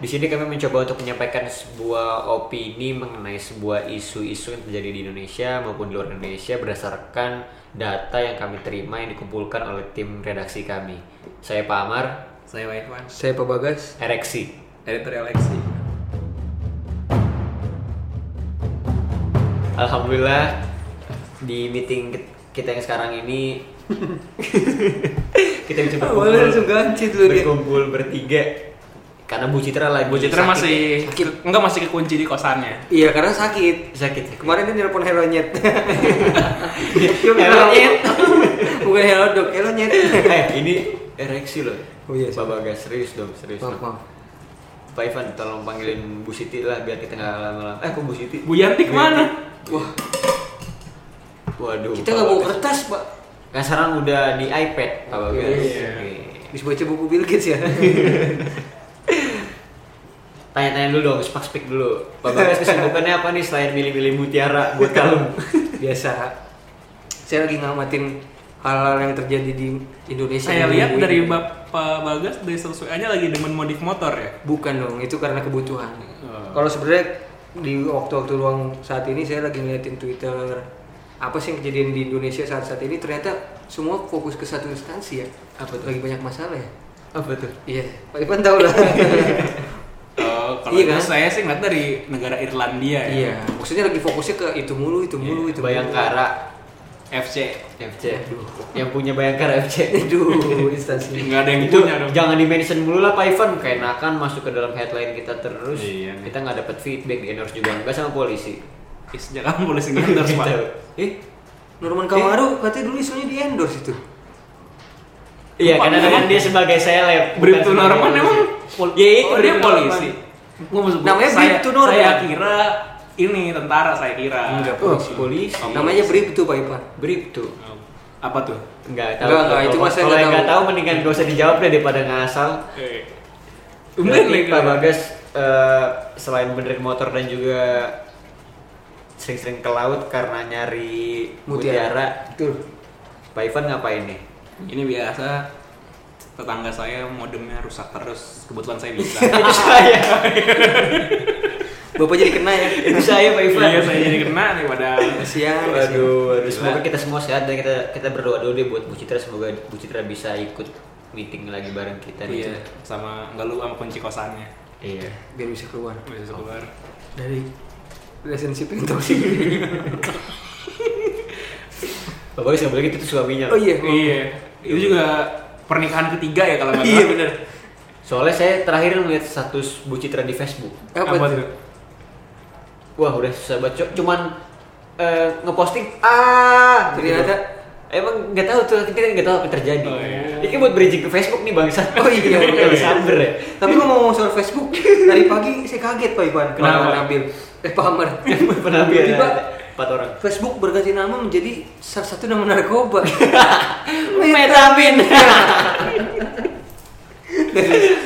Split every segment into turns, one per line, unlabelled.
Di sini kami mencoba untuk menyampaikan sebuah opini mengenai sebuah isu-isu yang terjadi di Indonesia maupun di luar Indonesia berdasarkan data yang kami terima yang dikumpulkan oleh tim redaksi kami. Saya Pak Amar,
Saya Wairwan,
Saya Pak Bagas.
ereksi.
editor Alexi.
Alhamdulillah di meeting ke- kita yang sekarang ini kita bisa
Ah, boleh langsung
berkumpul,
gancit lu dia.
berkumpul bertiga karena Bu Citra lagi
Bu Citra
sakit.
masih enggak masih kekunci di kosannya.
Iya karena sakit.
sakit Ya,
Kemarin dia nelpon Helonyet. ya.
Helonyet.
Bukan Helodog, Helonyet.
eh ini ereksi loh
Oh iya,
Pak Bagas serius dong serius
Maaf, maaf.
Pak Ivan tolong panggilin Bu Siti lah biar kita nggak lama-lama eh kok Bu Siti
Bu Yanti kemana?
wah waduh Pak
Kita nggak bawa
Bagas.
kertas pak.
Nah, sekarang udah di iPad Pak
Oke.
Bagas
Iya.
Oke.
Bisa baca buku Bill Gates ya.
Tanya-tanya dulu dong, spak spik dulu. Pak Bagas kesibukannya apa nih selain milih-milih mutiara buat kalung?
Biasa. Saya lagi ngamatin hal-hal yang terjadi di Indonesia.
Saya
di
lihat
minggu
dari
ini.
Bapak Bagas dari sesuainya lagi demen modif motor ya.
Bukan dong, itu karena kebutuhan. Kalau sebenarnya di waktu-waktu luang saat ini saya lagi ngeliatin Twitter apa sih yang kejadian di Indonesia saat-saat ini ternyata semua fokus ke satu instansi ya. Apa tuh? Lagi banyak masalah ya.
Apa tuh?
Iya, Pak Ipan tahu lah.
Eh, kalau
Iya
itu
kan?
saya sih ngeliat dari negara Irlandia ya.
iya, maksudnya lagi fokusnya ke itu mulu, itu mulu, Oh, itu mulu.
Bayangkara
FC.
FC. Yang punya Bayangkara FC.
Aduh, instansi.
Enggak ada yang
Itu
punya dong.
jangan di-mention dulu lah Pak Ivan, keenakan masuk ke dalam headline kita terus.
Iya nih.
Kita nggak dapat feedback di endorse juga enggak sama polisi.
Is jangan polisi ngendorse, Pak.
Gitu. Ih,
Norman Kamaru katanya dulu isunya di endorse itu.
Iya,
Lupa,
karena
emang-
kan dia sebagai seleb. bukan
Bribtu
sebagai
Norman
polisi.
emang
Ya itu
oh, dia
Bribtu
polisi.
Norman.
Gua maksud-
Namanya
saya-
Bribtu Norman.
Saya kira ini tentara saya kira.
Enggak,
Oh,
polisi.
polisi.
Namanya Brib tuh Pak Ipan.
Bribtu.
Apa tuh?
Enggak tahu.
Enggak, enggak, itu
Kalau-
mah saya
kalau
nggak
yang nggak tahu
tahu.
mendingan gak usah dijawab deh daripada ngasal.
Eh.
Berarti Pak
Bagas.
Bagas eh, selain benerin motor dan juga sering-sering ke laut karena nyari mutiara,
Betul.
Pak Ivan ngapain nih?
Ini biasa tetangga saya modemnya rusak terus kebetulan saya bisa.
itu saya,
Bapak jadi kena ya.
itu saya Pak Ivan.
Iya saya jadi kena nih pada
Kasihan. kasihan.
Waduh, waduh, semoga kita semua sehat dan kita kita berdoa dulu deh buat Bu Citra semoga Bu Citra bisa ikut meeting lagi bareng kita nih.
Iya, sama nggak lu sama kunci kosannya.
Iya.
Biar bisa keluar.
Bisa keluar.
dari relationship yang toxic.
Pak Bagas nggak boleh gitu tuh suaminya.
Oh iya.
Iya. Itu juga pernikahan ketiga ya kalau nggak
Iya
salah.
benar.
Soalnya saya terakhir ngeliat status Bu Citra di Facebook.
Apa,
Apa
tuh?
tuh?
Wah udah susah baca, cuman eh, ngeposting ah gitu.
Ternyata?
emang nggak tahu tuh kita kan nggak tahu apa yang terjadi.
Oh, iya.
Ini kan buat bridging ke Facebook nih bangsa.
Oh, iya,
Kita
iya.
bakal disamber ya.
Tapi ngomong soal Facebook, dari pagi saya kaget Pak Iwan.
Kenapa?
Pak Nabil. Eh Pak Amar.
Penampilan
Tiba-tiba,
ada empat orang.
Facebook berganti nama menjadi salah satu nama narkoba.
Metamin.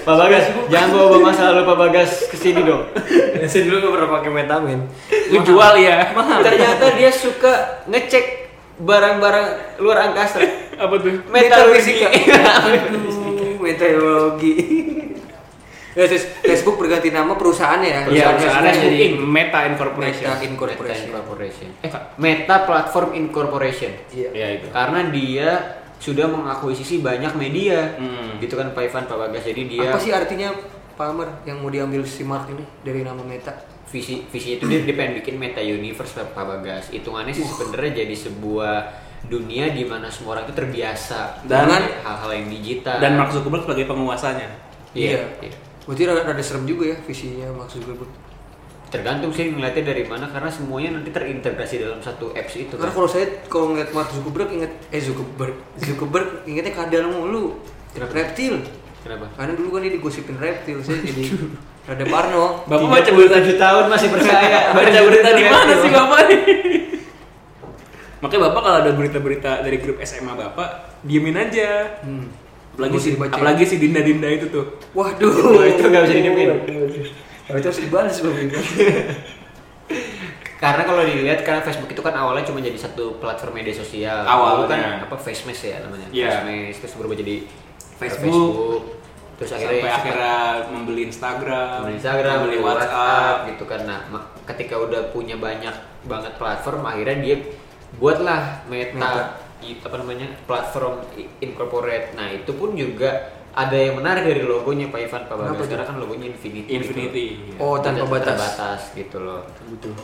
Pak Bagas, jangan bawa bawa masalah lu Pak Bagas kesini dong.
saya dulu nggak pernah pakai metamin.
Lu jual ya.
Ternyata dia suka ngecek barang-barang luar angkasa.
Apa tuh?
Metalurgi.
Aduh, meteorologi. Ya, terus Facebook berganti nama perusahaannya ya.
Iya,
perusahaannya
perusahaannya
jadi
jadi Meta Incorporation.
Meta Incorporation.
Meta Incorporation. Eh, Meta Platform Incorporation.
Iya.
Iya itu.
Karena dia sudah mengakuisisi banyak media.
Hmm.
Gitu kan Pak Ivan, Pak Bagas. Jadi dia
Apa sih artinya Pak Amar yang mau diambil si Mark ini dari nama Meta?
visi visi itu dia, dia pengen bikin meta universe Pak Pak Bagas. Hitungannya sih sebenarnya jadi sebuah dunia di mana semua orang itu terbiasa
Dan-
dengan hal-hal yang digital.
Dan Mark Zuckerberg sebagai penguasanya.
Iya. iya.
Berarti rada, rada serem juga ya visinya maksud gue.
Tergantung sih ngeliatnya dari mana karena semuanya nanti terintegrasi dalam satu apps itu. Kan?
Karena kalau saya kalau ngeliat Mark Zuckerberg inget eh Zuckerberg Zuckerberg ingetnya kadal mulu. Reptil.
Kenapa?
Karena dulu kan dia digosipin reptil saya jadi rada parno.
Bapak
Bapak baca berita di tahun masih percaya.
Baca berita gitu. di mana sih Bapak ini? Makanya Bapak kalau ada berita-berita dari grup SMA Bapak, diemin aja.
Hmm.
Apalagi
Mesti
si,
dibaca.
apalagi si Dinda-Dinda itu tuh.
Waduh.
Wah, itu nggak bisa didiemin.
Waduh, itu harus dibalas Bang.
Karena kalau dilihat karena Facebook itu kan awalnya cuma jadi satu platform media sosial.
Awalnya.
Dulu kan apa FaceMess ya namanya.
Iya.
FaceMess terus berubah jadi
Facebook.
Facebook. Terus
sampai
akhirnya
akhirnya membeli Instagram,
beli Instagram,
membeli
beli WhatsApp,
WhatsApp,
gitu kan. Nah, ma- ketika udah punya banyak banget platform, akhirnya dia buatlah Meta,
Meta.
i- apa namanya platform i- incorporate. Nah, itu pun juga ada yang menarik dari logonya Pak Ivan Pak
Kenapa
Bagas
tuh?
karena kan logonya Infinity. gitu.
Infinity. iya.
Oh, tanpa
Tidak
batas.
terbatas gitu loh.
Betul.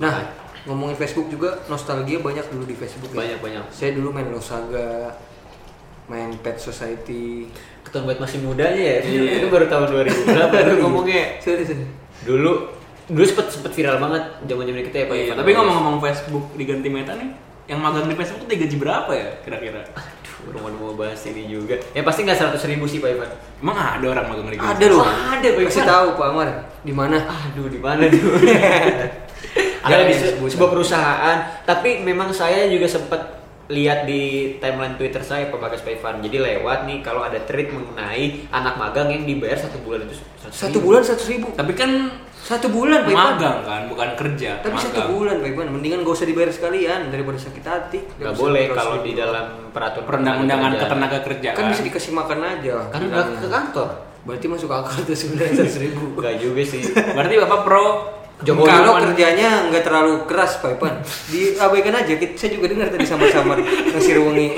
Nah, ngomongin Facebook juga nostalgia banyak dulu di Facebook ya.
Banyak-banyak.
Saya dulu main Losaga, main Pet Society.
Ketemu buat masih mudanya ya.
Iya.
Itu baru tahun 2000 berapa baru ngomongnya.
Sorry, sorry.
Dulu dulu sempet sempet viral banget zaman-zaman kita ya Pak
Iya,
Ivan.
Tapi ngomong-ngomong Facebook diganti Meta nih, yang magang di Facebook tuh digaji berapa ya kira-kira?
Aduh, rumah mau bahas ini juga. Ya pasti nggak 100 ribu sih Pak Ivan.
Emang ada orang magang di
Ada loh.
Wah, Ah, ada, Pak
Kasih
Iwan.
tahu Pak Amar di mana?
Aduh, di mana tuh? Ada
Jangan
di se-
disebut.
sebuah perusahaan, tapi memang saya juga sempat lihat di timeline Twitter saya Pak Bagas Pak Ivan. Jadi lewat nih kalau ada tweet mengenai anak magang yang dibayar satu bulan itu seratus
Satu
ribu.
bulan satu ribu.
Tapi kan
Satu bulan Pak Iwan.
magang kan, bukan kerja.
Tapi satu
magang.
bulan Pak Iwan. Mendingan gak usah dibayar sekalian daripada sakit hati.
Nggak
Daripada
boleh
sakit
kalau
hati.
di dalam peraturan
Perundang-undangan
ketenaga kerjaan.
ketenaga kerjaan.
kan bisa dikasih makan aja.
Kan udah
bilangnya.
ke kantor.
Berarti masuk akal tuh sebenarnya seratus ribu.
Enggak juga sih.
Berarti Bapak pro
Jokowi
kalau
cuman-
kerjanya nggak terlalu keras, Pak Ipan, diabaikan aja. Kita- Saya juga dengar tadi samar-samar ngasih ruangi.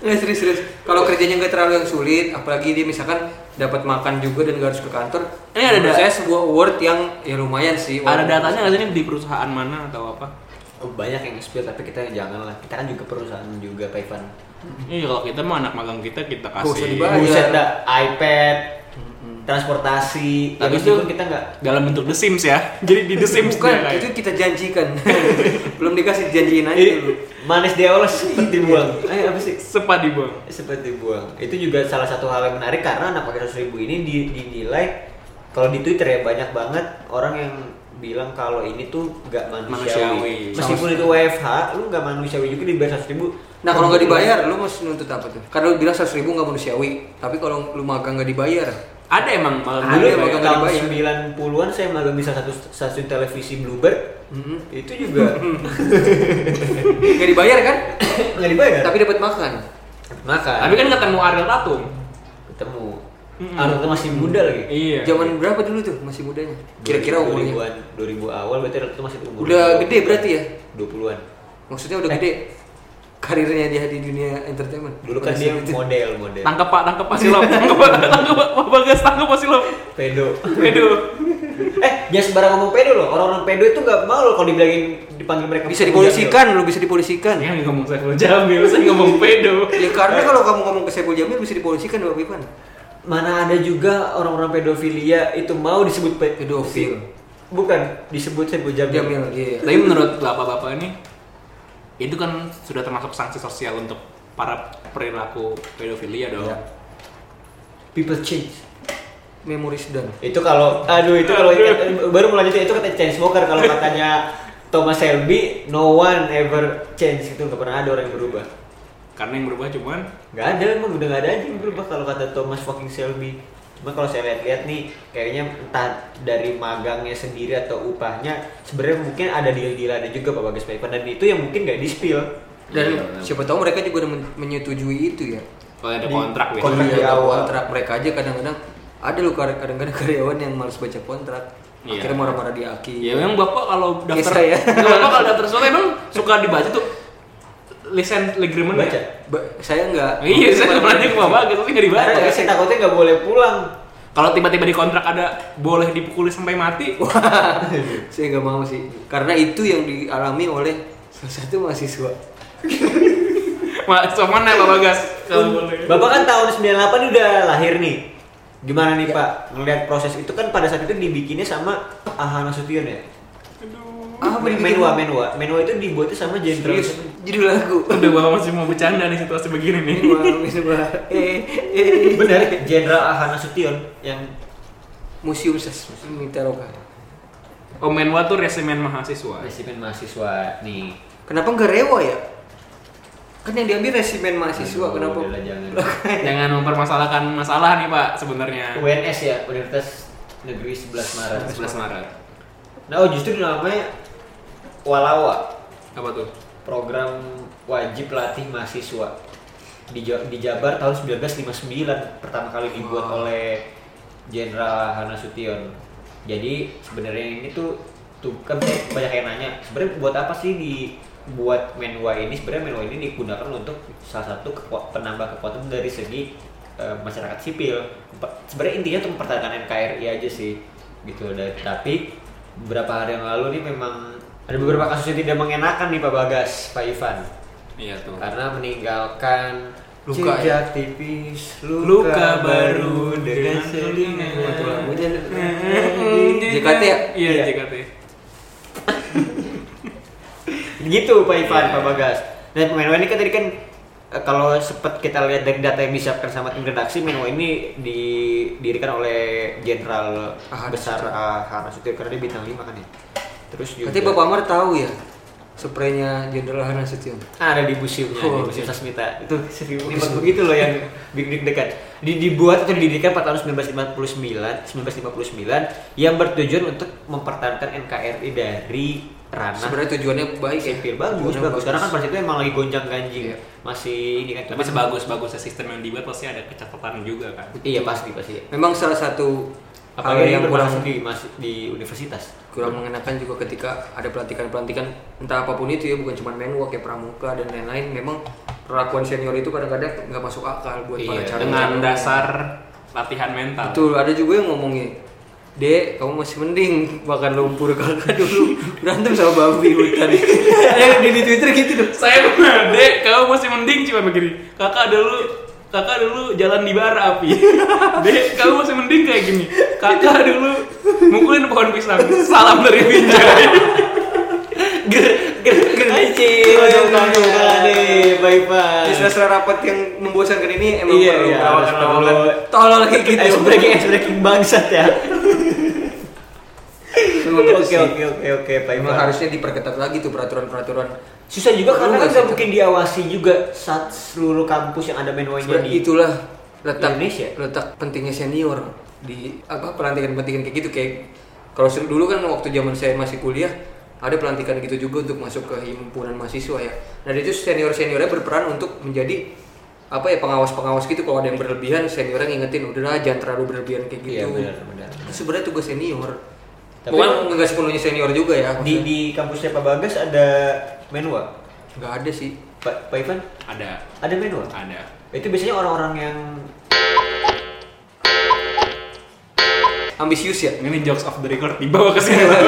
Nggak serius-serius. Nah, Kalau kerjanya nggak terlalu yang sulit, apalagi dia misalkan dapat makan juga dan nggak harus ke kantor.
Ini ada
menurut
da-
saya sebuah award yang ya lumayan sih.
ada
Walaupun-
datanya nggak sih ini di perusahaan mana atau apa?
Oh, banyak yang spill tapi kita jangan lah. Kita kan juga perusahaan juga Pak Ivan.
Iya kalau kita mah anak magang kita kita
Nggak usah
kasih
dibayar.
Buset dah, iPad, transportasi,
Tapi
habis itu
itu-
kita nggak
dalam bentuk The Sims ya. Jadi di The Sims
Bukan,
dia kayak.
itu kita janjikan. Belum dikasih dijanjiin aja
Iya.
Jadi,
dulu.
manis dioles dibuang. Eh Iya. apa sih?
sepa di bawah.
Sempat dibuang. Itu juga salah satu hal yang menarik karena anak pakai 100 ribu ini di- dinilai kalau di Twitter ya banyak banget orang yang bilang kalau ini tuh nggak manusiawi.
Manusiawi.
Meskipun itu WFH, lu nggak manusiawi juga dibayar 100 ribu.
Nah kalau nggak dibayar, lu mesti nuntut apa tuh? Karena lu bilang seratus ribu nggak manusiawi, tapi kalau lu magang nggak dibayar,
Ada ya, emang malam gitu.
Dulu
Ada
waktu
yang
tahun
ya, dibayar.
90-an saya magang di salah satu stasiun televisi Bluebird.
Mhm.
Itu juga
nggak dibayar kan?
nggak
Iya.
dibayar.
tapi dapat makan.
Maka
Tapi kan ketemu Ariel Tatum.
ketemu.
Mm-mm.
Anak tuh masih muda lagi.
Iya.
Zaman berapa dulu tuh masih mudanya? Kira-kira
2000-an,
umurnya.
2000 awal berarti Ariel tuh masih umur
Udah gede berarti ya?
20-an.
Maksudnya udah
Eh.
gede karirnya dia di dunia entertainment.
Dulu kan dia model, model.
Tangkep Pak, tangkep Pak Silom. Tangkep Pak, tangkep Pak, Pak Bagas, tangkep Pak Silom.
Pedo.
Aduh.
eh, jangan sembarang ngomong pedo loh. Orang-orang pedo itu nggak mau loh kalau dibilangin dipanggil mereka.
bisa dipolisikan, lu bisa dipolisikan.
Yang ngomong Saiful Jamil, saya ngomong pedo.
Ya karena kalau kamu ngomong ke Saiful Jamil bisa dipolisikan Bapak Ipan.
Mana ada juga orang-orang pedofilia itu mau disebut pe-
Pedofil.
Bukan, disebut sebut
Jamil,
jamil.
iya.
Tapi menurut bapak-bapak ini, itu kan sudah termasuk sanksi sosial untuk para perilaku pedofilia dong.
Iya.
People change.
Memoris dan
itu kalau aduh itu kalau baru melanjutnya itu kata change smoker kalau katanya Thomas Shelby no one ever change itu nggak pernah ada orang yang berubah
Karena yang berubah cuman
nggak ada emang udah nggak ada aja yang berubah kalau kata Thomas fucking Shelby cuma kalau saya lihat-lihat nih kayaknya entah dari magangnya sendiri atau upahnya sebenarnya mungkin ada deal dealannya juga Pak Bagas Pak Ivan. dan itu yang mungkin nggak di spill
dan
Iya, memang.
siapa tahu mereka juga udah men- menyetujui itu ya.
kalau ada
Di-
kontrak gitu.
kontrak
biasanya.
di
Iya,
awal.
kontrak mereka aja kadang-kadang ada loh kadang-kadang karyawan yang malas baca kontrak.
Iya.
Akhirnya marah-marah di aki.
Ya memang bapak kalau daftar,
ya.
Iya, saya.
bapak kalau daftar sesuatu emang suka dibaca tuh license agreement
Baca.
ya?
Ba- saya enggak.
Iya, saya nggak pernah nanya ke bapak, gitu, tapi nggak dibaca.
karena saya takutnya nggak boleh pulang
Kalau tiba-tiba di kontrak ada boleh dipukuli sampai mati,
saya nggak mau sih karena itu yang dialami oleh salah satu mahasiswa
masuk mana Pak Bagas? Kalau boleh. ya?
Bapak kan tahun 98 ini udah lahir nih. Gimana
Ya.
nih Pak ngelihat proses itu kan pada saat itu dibikinnya sama Aha Nasution ya? Ah,
Ah, apa dibikin?
Menwa, Menwa. Menwa itu dibuatnya sama Jenderal.
serius judul lagu
Udah bapak masih mau bercanda nih situasi begini nih.
Ini mah, ini mah. Eh, eh.
Benar, Jenderal Aha Nasution yang
museum sas Mitaroka
Omenwa tuh resemen mahasiswa.
resimen mahasiswa nih.
kenapa nggak rewa ya kan yang diambil resimen mahasiswa
Aduh,
kenapa
udahlah, jangan.
Jangan mempermasalahkan masalah nih Pak sebenarnya.
UNS ya, Universitas Negeri 11 Maret.
11 Maret.
Nah, oh justru namanya Walawa,
Apa tuh?
program wajib latih mahasiswa. di, Ja- di Jabar tahun 1959 pertama kali dibuat
Wow.
oleh Jenderal Hanasution. Jadi sebenarnya ini tuh tuh kan banyak yang nanya sebenarnya buat apa sih dibuat menwa ini sebenarnya menwa ini digunakan untuk salah satu kekuat, penambah kekuatan dari segi eh, masyarakat sipil Pe- sebenarnya intinya untuk mempertahankan NKRI aja sih gitu dan tapi beberapa hari yang lalu nih memang ada beberapa kasus yang tidak mengenakan nih Pak Bagas Pak Ivan
Iya tuh.
karena meninggalkan
Luka,
jejak tipis
ya. Luka baru dengan selingan.
selingan.
Betul, lagunya.
JKT
ya?
Iya,
Iya.
JKT.
gitu Pak Ivan
Iya.
Pak Bagas dan Menwa ini kan tadi kan eh, kalau sempat kita lihat dari data yang disiapkan sama tim redaksi Menwa ini didirikan oleh Jenderal
Ah,
Besar ah, Hanasution karena dia bintang 5 kan ya terus juga
Berarti Bapak Amar tahu ya spraynya Jenderal Hanasution.
Ah, ada di museumnya, di
Oh,
museum
oke.
Sasmita. Itu serius memang begitu loh yang bikin dekat. dibuat atau didirikan pada tahun 1959, 1959 yang bertujuan untuk mempertahankan NKRI dari ranah
Sebenarnya tujuannya baik ya.
sipil bagus,
Tujuannya
bagus. Karena kan pada itu emang lagi gonjang ganjing.
Iya.
Masih ini kan
Tapi sebagus-bagusnya sistem yang dibuat pasti ada kecatatan juga kan.
Iya, pasti pasti.
Memang salah satu hal
Apalagi
yang kurang
di mas- di universitas.
kurang mengenakan juga ketika ada pelantikan-pelantikan entah apapun itu ya bukan cuma menwa kayak pramuka dan lain-lain memang perlakuan senior itu kadang-kadang nggak masuk akal buat para
Iya,
calon
Dengan
calon.
dasar latihan mental.
betul ada juga yang ngomongnya Dek, kamu masih mending makan lumpur kakak dulu berantem sama babi hutan. Ada di, di Twitter gitu dong.
Saya dek, kamu masih mending cuma begini. Kakak dulu kakak dulu jalan di bara api. Dek, kamu masih mending kayak gini. Kakak dulu mukulin pohon pisang. Salam dari Binjai.
Ger ger ger. Anjir,
Aduh,
kamu
aduh. Di
bye-bye.
sela-sela rapat yang membosankan ini emang
Iya,
perlu
iya, harus
perawakan-perawakan.
perlu.
Tolol kayak gitu.
Ice breaking, ice breaking bangsat ya.
Memang gitu
Oke
sih.
oke oke oke Pak
Memang
Ivan.
harusnya diperketat lagi tuh peraturan-peraturan.
susah juga
Perlu
karena kan nggak
nggak sih?
mungkin diawasi juga saat seluruh kampus yang ada menwanya
Sebenarnya
di
itulah letak
Indonesia.
letak pentingnya senior di apa pelantikan-pelantikan kayak gitu kayak kalau se- dulu kan waktu zaman saya masih kuliah ada pelantikan gitu juga untuk masuk ke himpunan mahasiswa ya. Nah itu senior seniornya berperan untuk menjadi apa ya pengawas-pengawas gitu kalau ada yang berlebihan seniornya ngingetin udahlah jangan terlalu berlebihan kayak gitu.
Iya, benar, benar.
Itu sebenarnya tugas senior.
Tapi-
Bukan nggak sepenuhnya senior juga ya.
di
maksudnya.
di kampusnya Pak Bagas ada menwa
nggak ada sih.
Pak Pak Ivan
Ada,
ada menwa
ada.
itu biasanya orang-orang yang
Ambisius ya.
Ini jokes of the record dibawa ke sini. Pak.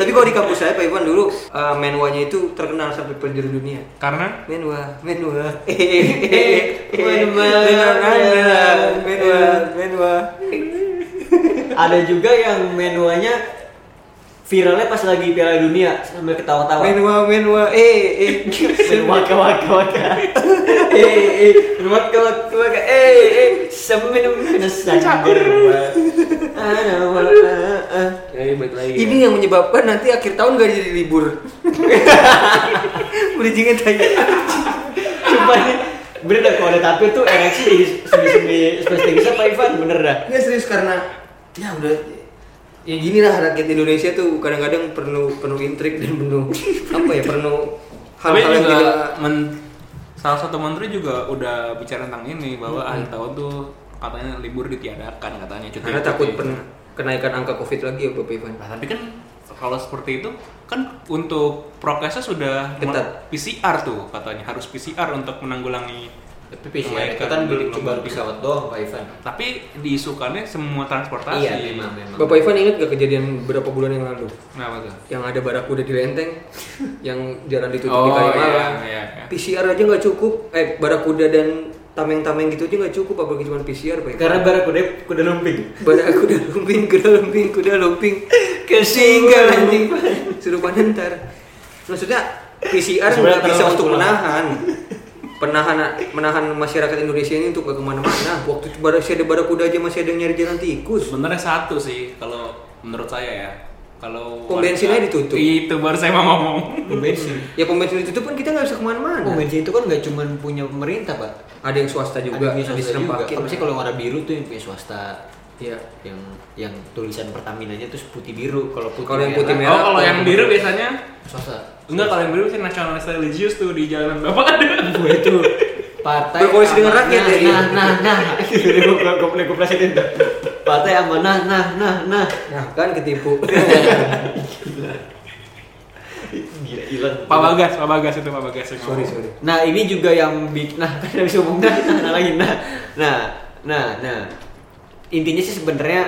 Tapi kalau di kampus saya Pak Iwan dulu eh, menwanya itu terkenal sampai penjuru dunia.
Karena
Menwa, menwa.
Menwa,
menwa, menwa, menwa.
ada juga yang menwanya viralnya pas lagi Piala Dunia sambil ketawa-tawa
Menwa, menwa. Eh, eh.
waka waka waka eh eh waka waka waka eh eh seminum minusan
Ini yang menyebabkan nanti akhir tahun gak jadi libur. Bridgingnya tanya.
Sumpah ini bener dah kalau ada tapi tuh ereksi jadi semi-semi spesifiknya Pak Ivan bener dah.
Nggak serius karena ya udah ya gini lah rakyat Indonesia tuh kadang-kadang penuh penuh intrik dan penuh apa ya penuh
Tapi
hal-hal yang
juga
tidak
men- salah satu menteri juga udah bicara tentang ini bahwa akhir tahun tuh katanya libur ditiadakan katanya cuti.
Karena takut pen- kenaikan angka COVID lagi ya Bapak Ivan.
Nah, tapi kan kalau seperti itu kan untuk prokesnya sudah mel-
Ketat.
PCR tuh katanya harus PCR untuk menanggulangi
Tapi
PCR itu kan belum- baru
pesawat doang Pak Ivan.
tapi diisukannya semua transportasi.
Iya memang memang.
Bapak Ivan ingat gak kejadian beberapa bulan yang lalu?
Kenapa tuh?
Yang ada barakuda di Lenteng, yang jalan ditutup di
Oh,
Kalimalang.
iya, iya, iya.
PCR aja nggak cukup, eh barakuda dan tameng-tameng gitu aja nggak cukup apalagi cuma PCR Pak Ivan.
Karena barak kuda kuda lumping.
barakuda lumping, kuda lumping, kuda lumping, kesinggal anjing suruh panen ntar. Maksudnya PCR
Sebenarnya
nggak bisa
terlalu
untuk
pulang.
menahan penahan menahan masyarakat Indonesia ini untuk gak kemana-mana. Waktu bara- masih ada barakuda aja masih ada yang nyari jalan tikus.
Sebenarnya satu sih kalau menurut saya ya. Kalau
Pom bensinnya ditutup.
Itu baru saya mau ngomong.
Bensin.
Ya pom bensin ditutup kan kita nggak bisa kemana-mana.
Oh, bensin itu kan nggak cuma punya pemerintah Pak.
ada yang swasta juga
Ada yang punya swasta juga.
diserempakin
Tapi sih kalau warna biru tuh yang punya swasta
Iya.
yang yang tulisan Pertamina nya terus putih biru kalau putih
Kalau yang putih merah.
Oh, kalau yang biru biasanya
swasta
enggak kalau yang biru sih nasionalis religius tuh di jalanan Bapak ada.
gue itu partai
Berkoalisi dengan
amanah-
rakyat ya,
nah
gitu.
nah nah gitu deh gue gue gue plesetin tuh partai amanah nah nah nah
Nah, kan ketipu.
gila hilang
Pak Bagas, Pak Bagas itu Pak Bagas yang
sorry,
ngomong.
sorry.
Nah ini juga yang bikin nah kan habis ngomong nah, nah, nah lagi nah nah nah nah intinya sih sebenarnya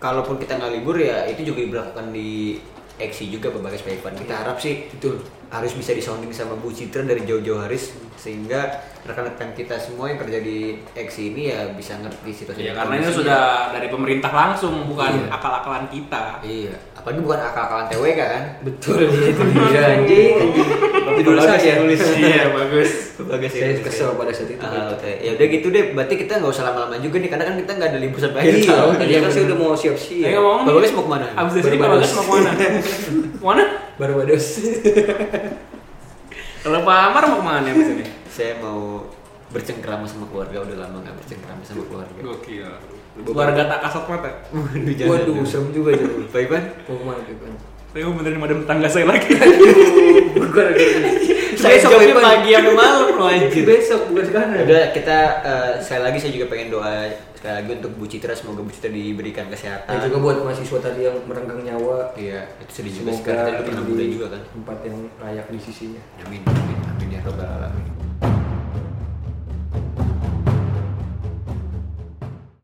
kalaupun kita nggak libur ya itu juga diberlakukan di Eksi juga berbagai Evan. Kita
Iya.
harap sih itu harus bisa disounding sama Bu Citra dari jauh-jauh hari sehingga rekan-rekan kita semua yang kerja di Eksi ini ya bisa ngerti situasi.
Iya,
dan
karena ini
kondisinya.
sudah dari pemerintah langsung, bukan
Iya.
akal-akalan kita.
Iya, apalagi bukan akal-akalan TWK kan?
Betul ya itu dia anjing, anjing. Judul saya.
ya,
Iya, bagus.
Berbagai
Saya kesel pada saat itu.
ya, Ah, oke. Ya udah gitu deh, berarti kita nggak usah lama-lama juga nih, karena kan kita nggak ada libur sampai akhir
Iya,
tahun.
tadi kan saya udah mau siap-siap.
Ayo ngomong.
Iya. Pak
nih.
Bagas mau kemana?
Abis dari sini Pak
Baru
Bagas mau kemana? Mana?
Baru wados.
Kalau Pak Amar mau kemana abis ini?
Saya mau bercengkrama sama keluarga, udah lama nggak bercengkrama sama keluarga.
Gokil. Keluarga tak kasat mata.
Waduh, jangan
Waduh,
dong.
serem juga jauh.
Pak Ivan,
Pengumuman gitu.
Saya mau benerin madam tetangga saya lagi.
saya
Besok,
jawabnya
Ivan.
pagi sama malam loh anjir.
Besok bukan sekarang.
Udah kita eh, sekali lagi saya juga pengen doa sekali lagi untuk Bu Citra semoga Bu Citra diberikan
Dan
kesehatan.
Nah, Ya juga buat mahasiswa tadi yang merenggang nyawa.
Iya, itu sedih juga
Semoga
sekarang kita dulu pernah
di
muda juga kan.
Tempat yang layak di sisinya.
Amin, amin, amin ya robbal alamin.